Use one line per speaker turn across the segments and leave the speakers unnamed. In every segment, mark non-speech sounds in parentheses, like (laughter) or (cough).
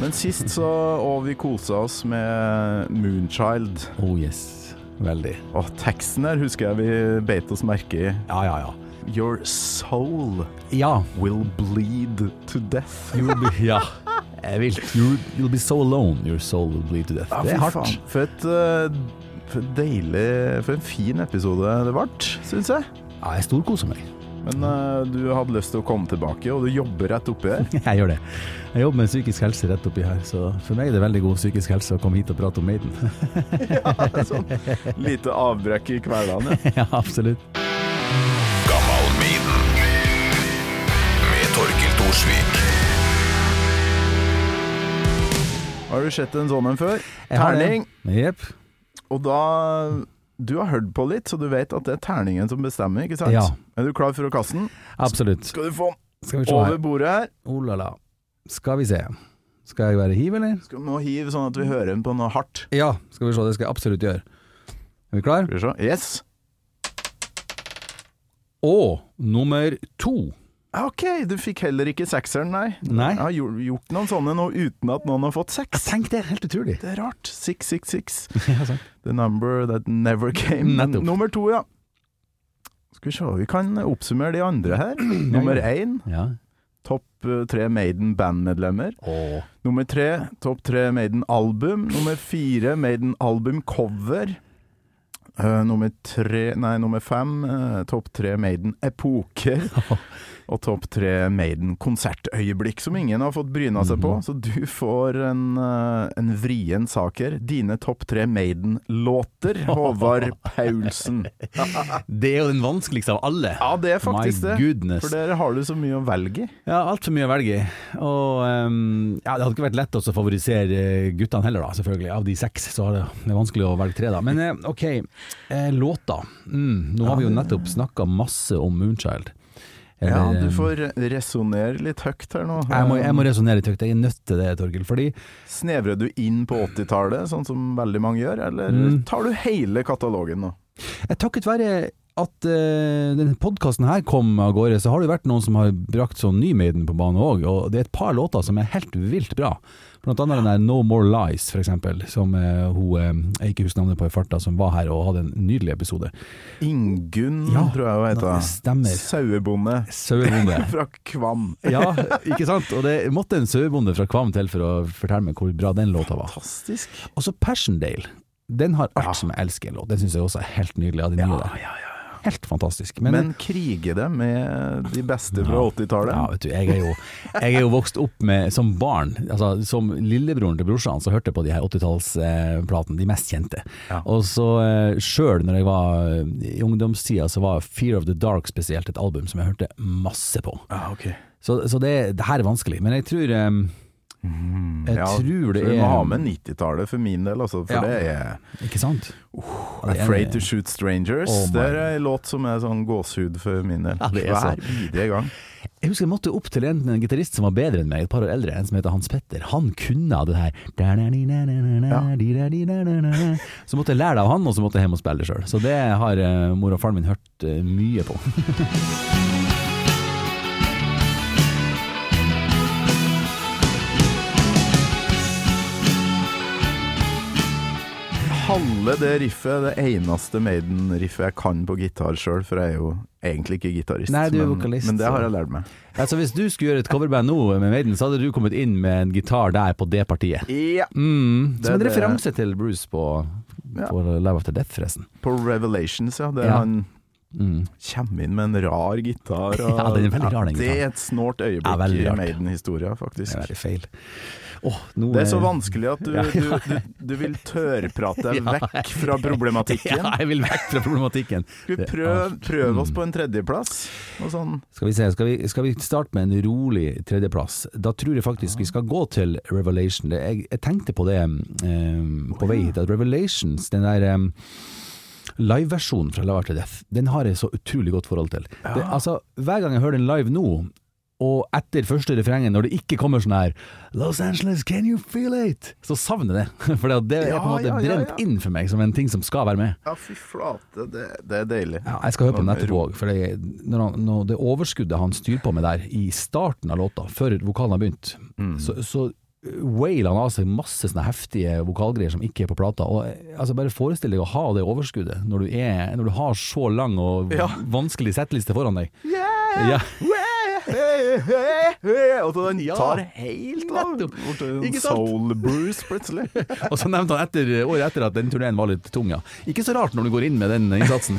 Men sist så Og vi kosa oss med Moonchild.
Oh yes. Veldig.
Og teksten der husker jeg vi beit oss merke i.
Ja, ja, ja.
Your soul
Ja. (laughs)
will bleed to death.
You will be, ja. Jeg vil. You, you'll be so alone. Your soul will bleed to death.
Ja,
det er
fy
hardt.
faen. For et eh, for et deilig For en fin episode det ble, syns jeg.
Ja, jeg storkoser meg. (laughs)
Men eh, du hadde lyst til å komme tilbake, og du jobber rett oppi her. (laughs)
Jeg gjør det. Jeg jobber med psykisk helse rett oppi her, så for meg er det veldig god psykisk helse å komme hit og prate om Maiden. (laughs)
sånn lite avbrekk i hverdagen. ja.
ja, absolutt.
Har du sett en sånn en før?
Jeg har det.
Terning!
Jepp.
Og da Du har hørt på litt, så du vet at det er terningen som bestemmer, ikke sant?
Ja.
Er du klar for å kaste den?
Absolutt.
Skal du få den
Skal vi se
over
her.
bordet her?
Oh la la. Skal vi se. Skal jeg være hiv, eller?
Skal du nå hive sånn at vi hører den på noe hardt?
Ja, skal vi se. Det skal jeg absolutt gjøre. Er vi klar?
Skal vi se. Yes.
Og nummer to.
Ok, du fikk heller ikke sekseren, nei.
Nei.
Jeg har gjort- gjort noen sånne nå uten at noen har fått seks.
Tenk det, helt utrolig.
Det er rart. 666.
(laughs) Ja, sant.
The number that never came.
(laughs)
Men
Nettopp.
Nummer to, ja. Skal vi se, vi kan oppsummere de andre
(clears throat)
her. Nummer én,
Ja.
topp eh, tre Maiden bandmedlemmer.
Og
Nummer tre, topp tre Maiden-album. Nummer fire, Maiden-album-cover. Eh, nummer tre, nei, nummer fem, eh, topp tre
(laughs)
Maiden-epoker. Og topp tre Maiden-konsertøyeblikk, som ingen har fått bryna seg
Mhm.
på. Så du får en, eh, en vrien sak her. Dine topp tre
(laughs)
Maiden-låter, Håvard Paulsen.
Det er jo den vanskeligste av alle.
Ja, det er faktisk
My
det.
goodness.
For der har du så mye å velge i.
Ja, altfor mye å velge i. Og ehm, ja, det hadde ikke vært lett også å favorisere eh, guttene heller, da, selvfølgelig. Av de seks, så er det det er vanskelig å velge tre, da. Men eh, OK, eh, låter. Mm, nå har vi jo nettopp snakka masse om Moonchild.
Ja,
Eller,
du
eh,
får resonnere litt høyt her nå.
jeg må, jeg må resonnere litt høyt, jeg er nødt til det, Torgild. Fordi
Snevrer du inn på 80-tallet, sånn som veldig mange gjør, eller
Mm.
tar du hele katalogen nå?
Jeg Eh, takket være at eh, denne podkasten her kom av gårde, så har det jo vært noen som har brakt sånn ny Maiden på banen òg, og det er et par låter som er helt vilt bra. Blant annet den der No More Lies, for eksempel, som eh, hun eh, jeg ikke husker navnet på i farta, som var her og hadde en nydelig episode.
Ingunn,
Ja,
tror jeg hun
det
heter.
stemmer.
Sauebonde
Sauebonde.
(laughs) fra Kvam.
ja, ikke sant? Og det måtte en sauebonde fra Kvam til for å fortelle meg hvor bra den låta var.
Fantastisk.
Og så Passiondale. Den har alt som jeg elsker i en låt. Den syns jeg også er helt nydelig av de nye der. Helt fantastisk. Men, eh,
Men kriger det med de beste fra
Ja,
80-tallet?
vet du, jeg er jo, jeg er jo vokst opp med, som barn, altså som lillebroren til brorsan, så hørte jeg på de her 80-tallsplatene, de mest kjente.
Ja.
Og så eh, sjøl, når jeg var eh, i ungdomstida, så var Fear of the Dark spesielt et album som jeg hørte masse på.
Ja, ok.
Så, så det, det her er vanskelig, men jeg tror eh, Jeg
Mm, Ja,
tror det
så Vi
er
må ha med 90-tallet for min del, altså. For
Ja.
det er
Ikke sant? Ja, det er-
Afraid to Shoot Strangers.
Oh my.
det er en låt som er sånn gåsehud for min del.
Ja, det er så.
Hver bidige gang.
Jeg husker jeg måtte opp til en, en gitarist som var bedre enn meg, et par år eldre, en som heter Hans Petter. Han kunne det her Så måtte jeg lære det av han, og så måtte jeg hjem og spille det sjøl. Så det har eh, mor og faren min hørt eh, mye på. (laughs)
Halve det riffet er det eneste Maiden-riffet jeg kan på gitar sjøl, for jeg er jo egentlig ikke gitarist.
Nei, du er
men,
vokalist,
men det
så-
har jeg lært meg.
Altså, hvis du skulle gjøre et coverband nå med Maiden, så hadde du kommet inn med en gitar der på det partiet.
Ja.
Mm,
Det-
som en
det-
referanse til Bruce på,
Ja.
på Live After Death, forresten.
På Revelations, ja. Det er
Ja.
han
Mm.
Kjem inn med en rar gitar.
(laughs)
Og,
Ja, den er veldig rar, den
Det
gitaren.
er et snålt
Ja,
øyeblikk
veldig
i
rart.
Maiden-historia, faktisk.
Det er veldig feil. Åh, nå
Det er så
er-
vanskelig at du,
Ja,
du, du, du vil
(laughs)
tørrprate deg vekk fra problematikken.
Ja, jeg vil vekk fra problematikken.
Skal vi
Det er
prøve,
alt.
prøve oss
Mm.
på en tredjeplass? Og sånn.
Skal vi se, skal vi, skal vi starte med en rolig tredjeplass? Da tror jeg faktisk vi skal gå til Revelation. Det, jeg, jeg tenkte på det eh, på vei hit, at Revelations, den der um, liveversjonen fra Love After Death, den har jeg så utrolig godt forhold til. Det, altså, hver gang jeg hører den live nå, og etter første refrengen, når det ikke kommer sånn her Los Angeles, can you feel it? Så savner jeg det. (laughs) For det er på en
Ja,
måte
ja, ja,
brent
ja.
inn for meg som en ting som skal være med.
Ja, fy flate, det, det er deilig.
Ja, jeg skal høre på den etterpå òg, for det, når han, når det overskuddet han styrer på med der i starten av låta, før vokalen har begynt, så, så eh, wailer han av seg masse sånne heftige vokalgreier som ikke er på plata. Og, eh, altså, bare forestill deg å ha det overskuddet når du, er, når du har så lang og
Ja.
vanskelig settliste foran deg.
Yeah!
Ja.
Hey, hey, hey, hey. Og så den
Ja,
tar helt av.
nettopp.
Bort til en
Ikke sant?
Soul Bruce, plutselig.
Og så nevnte han etter, året etter at den turneen var litt tung, ja. Ikke så rart når du går inn med den innsatsen.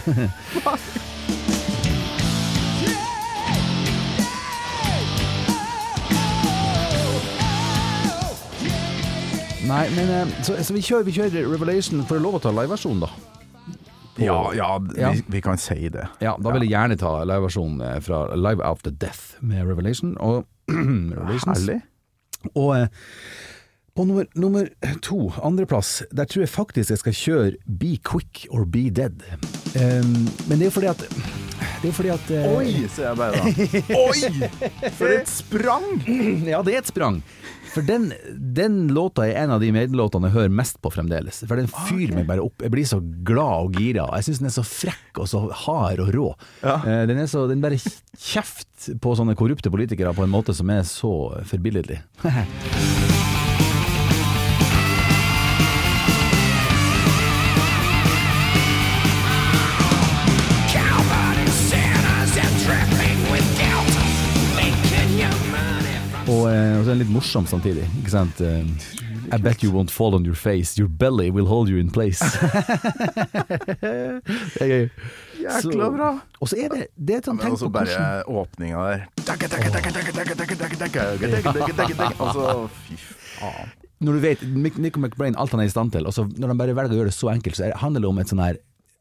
Nei, men eh, så, så vi kjører, vi kjører Revelation for å lov å ta liveversjonen, da.
Ja, ja,
Ja.
vi, vi kan si det.
Ja, da vil jeg gjerne ta liveversjonen eh, fra Live After Death med Revelation og (clears throat) Revelations.
Herlig.
Og eh, på nummer, nummer to, andreplass, der tror jeg faktisk jeg skal kjøre Be Quick or Be Dead. Um, men det er jo fordi at Det er jo fordi at eh,
Oi, ser jeg bare da. Oi! For et sprang!
(clears throat) Ja, det er et sprang. For den, den låta er en av de Maiden-låtene jeg hører mest på fremdeles. For den fyrer meg bare opp. Jeg blir så glad og gira. Jeg syns den er så frekk og så hard og rå. Eh, Den, er så, den bare kjeft på sånne korrupte politikere på en måte som er så forbilledlig. (laughs) Og, eh, og så er den litt morsom samtidig, ikke sant? Eh, I bet you won't fall on your face, your belly will hold you in
(laughs)
place. Det er gøy.
Jækla bra.
Og så er det, det er sånn,
Men
tenk
også
på hvordan
bare åpninga der. Takka, takka, takka, takka, takka, takka, takka, takka, takka, takka, takka, takka. Og så fy faen.
Når du vet Mick- Nico McBrain, alt han er i stand til, og så når han bare velger å gjøre det så enkelt, så er- handler det om et sånn her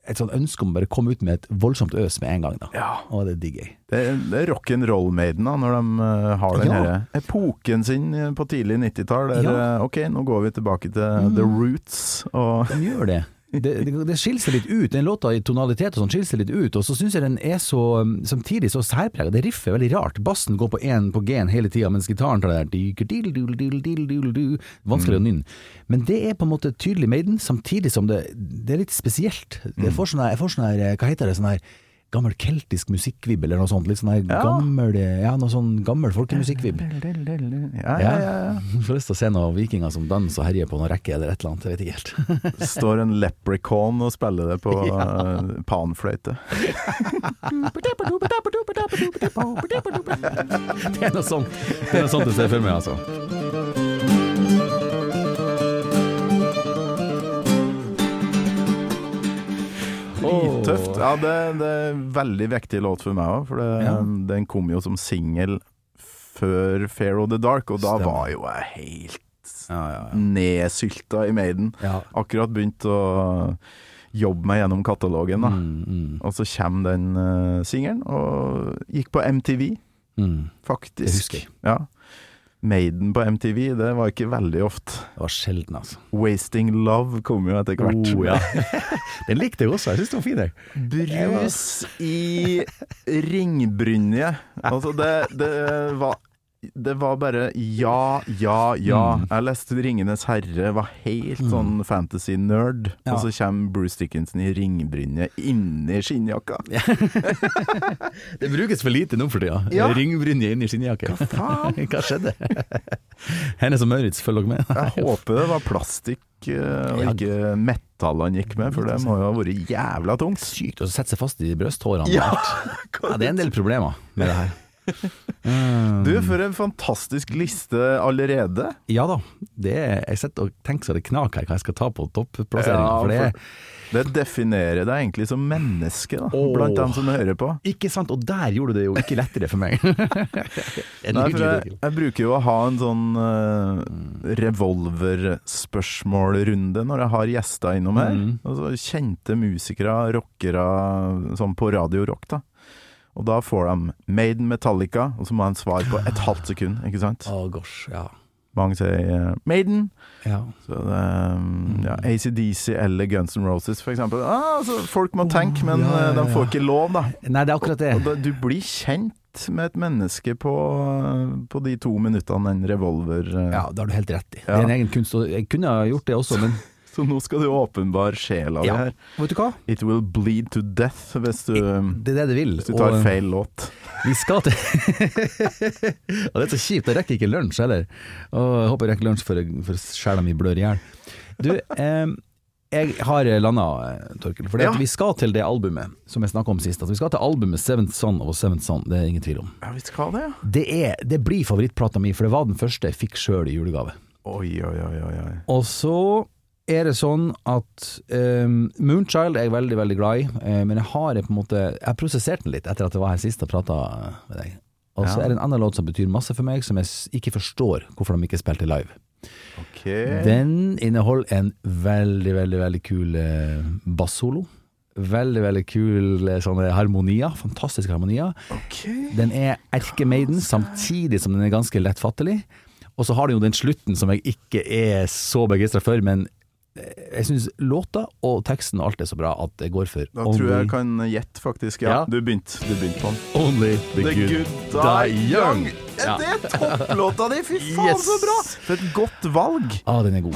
et sånn ønske om å bare komme ut med et voldsomt øs med en gang. da
Ja.
Og det digger jeg.
Det er, det er rock'n'roll-maiden da, når de eh, har den
Ja.
her epoken sin eh, på tidlig 90-tall. der,
Ja. Mm.
eh, Ok, nå går vi tilbake til the roots. Og
Den gjør det. Det, det, det skiller seg litt ut. Den låta i tonalitet og sånn skiller seg litt ut. Og så syns jeg den er så um, samtidig så særprega. Det riffet er veldig rart. Bassen går på én på G-en hele tida, mens gitaren tar det der dikedildeldildeldildeldu. Vanskelig å
Mm.
nynne. Men det er på en måte tydelig Maiden, samtidig som det, det er litt spesielt. Jeg
Mm.
får sånn her, jeg får sånn her eh, hva heter det, sånn her gammel keltisk musikkvibb eller noe sånt. Litt sånn her
Ja.
gammel, eh, ja, noe sånn gammel folkemusikkvibb.
ja, ja, ja,
Ja, (laughs) får lyst til å se noen vikinger som danser og herjer på noen rekke eller et eller annet, jeg vet ikke helt.
ja. Står en leprechaun og spiller det på
(laughs)
eh, panfløyte.
Det er noe sånt Det er noe sånt jeg ser for meg, altså.
Drittøft. Ja, det, det er en veldig viktig låt for meg òg, for det,
Ja.
den kom jo som singel før Fair of the Dark, og da
Stemmer.
var jo jeg helt
Ja, ja, ja.
nedsylta i Maiden.
Ja.
Akkurat begynt å jobbe meg gjennom katalogen, da.
Mm,
Og så kommer den uh, singelen, og gikk på MTV,
mm, mm.
faktisk.
Det husker jeg.
Ja. Maiden på MTV, det var ikke veldig ofte.
Det var sjelden, altså.
'Wasting Love' kom jo etter hvert.
Oh, ja. (laughs) Den likte jeg også, jeg syns den var fin. jeg.
Brus i ringbrynje. Altså, det, det var det var bare ja, ja, ja.
Mm.
Jeg leste 'Ringenes herre', var helt
Mm.
sånn fantasy-nerd.
Ja.
Og så kommer Bruce Dickinson i ringbrynje inni skinnjakka.
Det brukes for lite nå for tida.
Ja.
Ringbrynje inni skinnjakke.
Hva faen?
(laughs) Hva skjedde? Hennes og Maurits, følg dere med.
Jeg håper det var plastikk eh, og
Ja.
ikke metall han gikk med, for det må jo ha vært jævla tungt.
Sykt å sette seg fast i brysthårene.
Ja.
Ja, det er en del problemer med det her. Um,
Du, for en fantastisk liste allerede.
Ja da. Det er, jeg sitter og tenker så det knaker her hva jeg skal ta på topplasseringa.
Ja,
for det er
Det definerer deg egentlig som menneske, da,
Åh.
blant dem som hører på.
Ikke sant? Og der gjorde du det jo ikke lettere for
(laughs)
meg. en
Nei, for
nydelig
jeg,
vinkel.
jeg bruker jo å ha en sånn uh, revolverspørsmålrunde når jeg har gjester innom her.
Mm.
Altså, kjente musikere, rockere, sånn på Radio Rock, da. Og da får de Maiden Metallica, og så må de svare på et halvt sekund, ikke sant?
Å, gosh, ja.
Mange sier eh, Maiden,
ja.
så det,
Mm.
um, ja, ACDC eller Guns N' Roses for eksempel. Ah, altså, folk må tenke, men
ja, ja,
eh, de
ja.
får ikke lov, da.
Nei, det er akkurat det.
Og da, du blir kjent med et menneske på, på de to minuttene en revolver eh,
Ja, det har du helt rett i. Det
Ja.
er en egen kunst. Og jeg kunne ha gjort det også, men
Så nå skal du åpenbare sjela di
Ja.
her.
vet du hva?
It will bleed to death hvis du,
Det er det det vil.
hvis du tar
og-
feil låt.
Vi skal til (laughs) Og det er så kjipt, jeg rekker ikke lunsj heller. Og jeg håper jeg rekker lunsj før, jeg- før sjela mi blør i hjel. Du, eh, jeg har landa, Torkel. For
Ja.
vi skal til det albumet som jeg snakka om sist. At vi skal til albumet 'Seventh Son of a Seventh Son', det er ingen tvil om.
Ja, vi skal det, ja.
Det, er, det blir favorittplata mi, for det var den første jeg fikk sjøl i julegave.
Oi, oi, oi, oi. oi.
Og så er det sånn at ehm, Moonchild er jeg veldig, veldig glad i, eh, men jeg har på en måte Jeg har prosessert den litt etter at jeg var her sist og prata med deg. Og så
Ja.
er det en annen låt som betyr masse for meg, som jeg s- ikke forstår hvorfor de ikke spilte live.
Ok.
Den inneholder en veldig, veldig, veldig kul eh, bassolo. Veldig, veldig kul eh, sånne harmonier. Fantastiske harmonier.
ok.
Den er erkemaiden samtidig som den er ganske lettfattelig. Og så har den jo den slutten som jeg ikke er så begeistra for, men eh, jeg syns låta og teksten og alt er så bra at det går for
Da tror jeg
only,
jeg kan gjette, faktisk. Ja,
Ja.
du begynte du begynte på den.
only the,
The
good, Die Young.
Ja.
Ja.
Det er topplåta di! Fy faen,
Yes.
så bra! For et godt valg.
Ah, den er god.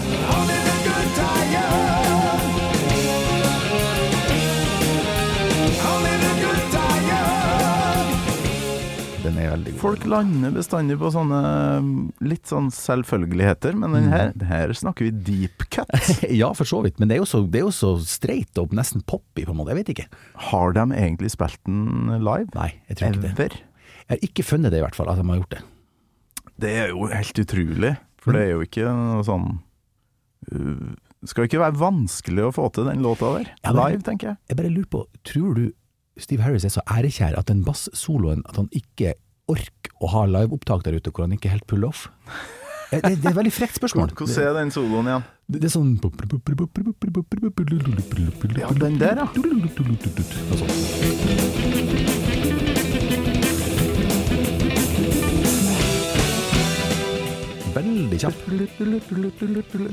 Den er veldig god.
Folk lander bestandig på sånne mm, litt sånn selvfølgeligheter, men
Mm.
den her, den her snakker vi deep cut.
(laughs) Ja, for så vidt, men det er jo så, det er jo så straight opp, nesten poppy på en måte. Jeg vet ikke.
Har de egentlig spilt den live?
Nei, jeg tror ikke det.
Ever?
Jeg har ikke funnet det i hvert fall, at de har gjort det.
Det er jo helt utrolig, for det er jo ikke noe sånn uh, Skal ikke være vanskelig å få til den låta der.
Ja, men-
Live, tenker jeg.
Jeg bare lurer på, tror du Steve Harris er så ærekjær at den bass-soloen At han ikke orker å ha liveopptak der ute hvor han ikke helt puller off? Eh, Det, det er et veldig frekt spørsmål.
Hvordan er den soloen igjen?
Det, det er sånn
Ja, den der, ja.
Og sånn. Veldig kjapp.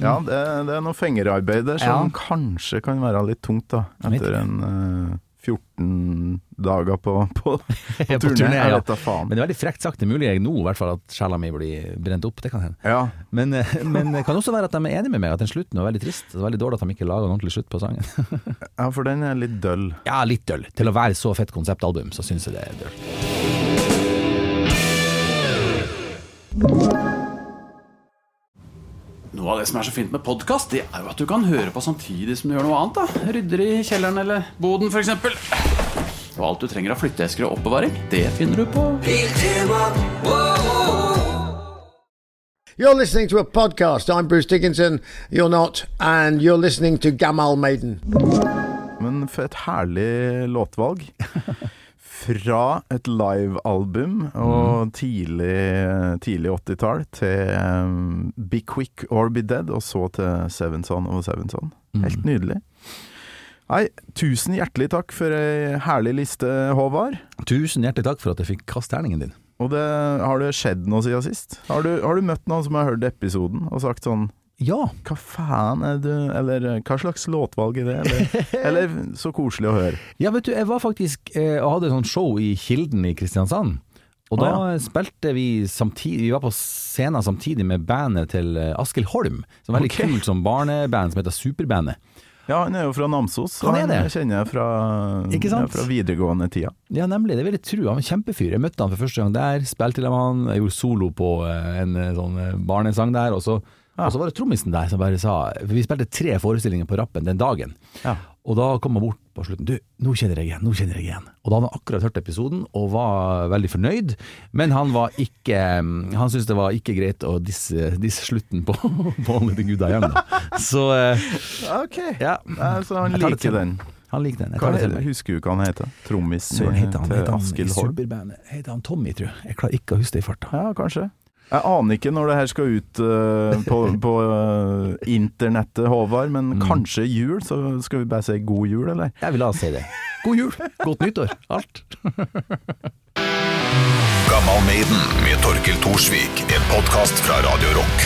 Ja, det, det er noe fingerarbeid der som
Ja.
kanskje kan være litt tungt, da.
Jeg vet
Etter
ikke.
en eh, 14 dager på, (laughs) på, på
På
turné.
turné,
Jeg
ja.
vet da faen.
Men det er veldig frekt sagt. Det er mulig jeg nå i hvert fall at sjela mi blir brent opp. Det kan hende.
Ja,
Men, eh, men det kan også være at de er enige med meg, at den slutten var veldig trist. Det var veldig dårlig at de ikke laga en ordentlig slutt på sangen. (laughs)
ja, for den er litt døll.
Ja, litt døll. Til å være så fett konseptalbum, så syns jeg det er døll.
Noe av det som er så fint med podkast, det er jo at du kan høre på samtidig som du gjør noe annet. da Rydder i kjelleren eller boden, f.eks. Og alt du trenger av flytteesker og oppbevaring, det finner du på
You're listening to a podcast. I'm Bruce Dickinson. You're not, and you're listening to Gamal Maiden.
Men for et herlig låtvalg.
(laughs)
Fra et livealbum
Mm.
og tidlig, tidlig 80-tall til um, Be Quick or Be Dead, og så til Seven Son og Seven Son.
Mm.
Helt nydelig. Nei, tusen hjertelig takk for ei herlig liste, Håvard.
Tusen hjertelig takk for at jeg fikk kaste terningen din.
Og det, har det skjedd noe siden sist? Har du, har du møtt noen som har hørt episoden og sagt sånn
Ja,
Hva faen er du Eller eh, hva slags låtvalg er det?
(laughs)
Eller, eller så koselig å høre.
ja vet du, jeg var faktisk eh, og hadde et sånt show i Kilden i Kristiansand. Og
Å,
da spilte vi samtidig Vi var på scenen samtidig med bandet til eh, Askild Holm, som er veldig
Ok.
kult som barneband som heter Superbandet.
Ja, han er jo fra Namsos, så
Han er det.
kjenner jeg fra,
Ikke sant?
ja, fra videregående tida.
Ja, nemlig. Det vil jeg tro. Han var en kjempefyr. Jeg møtte han for første gang der, spilte med han, jeg gjorde solo på eh, en eh, sånn eh, barnesang der, og så, og så var det trommisen der som bare sa For vi spilte tre forestillinger på rappen den dagen.
Ja.
Og da kom han bort på slutten. Du, nå kjenner jeg igjen, nå kjenner jeg igjen. Og da hadde han akkurat hørt episoden og var veldig fornøyd, men han var ikke mm, Han syntes det var ikke greit å disse, disse slutten på, (laughs) på Only the Good I Am, da. Så eh,
Ok.
ja.
Ja, så han
Jeg tar det
liker
til
den.
Han likte den. Jeg
Hva
tar det
er
til
det?
meg.
Husker du hva han heter? Trommisen
Søren heter han,
til
heter han i
Askild Holm?
superbandet. Heter han Tommy, tror jeg. Jeg klarer ikke å huske det i farta.
Ja, kanskje. Jeg aner ikke når det her skal ut eh, på,
(laughs)
på eh, internettet, Håvard, men
Mm.
kanskje jul? Så skal vi bare si god jul, eller?
Jeg vil ha si det. God jul, godt nyttår, alt.
Gammal Maiden med Torkel Thorsvik. En podkast fra Radio Rock.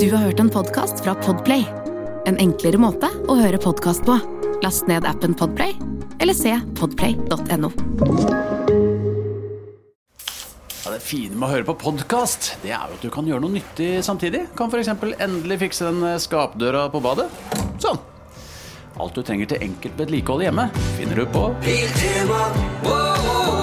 Du har hørt en podcast fra Podplay. En enklere måte å høre podcast på. Last ned appen Podplay, eller se podplay.no.
Ja, det fine med å høre på podkast, det er jo at du kan gjøre noe nyttig samtidig. Kan f.eks. endelig fikse den eh, skapdøra på badet. Sånn. Alt du trenger til enkelt vedlikehold hjemme, finner du på
Biltema. Wow, wow,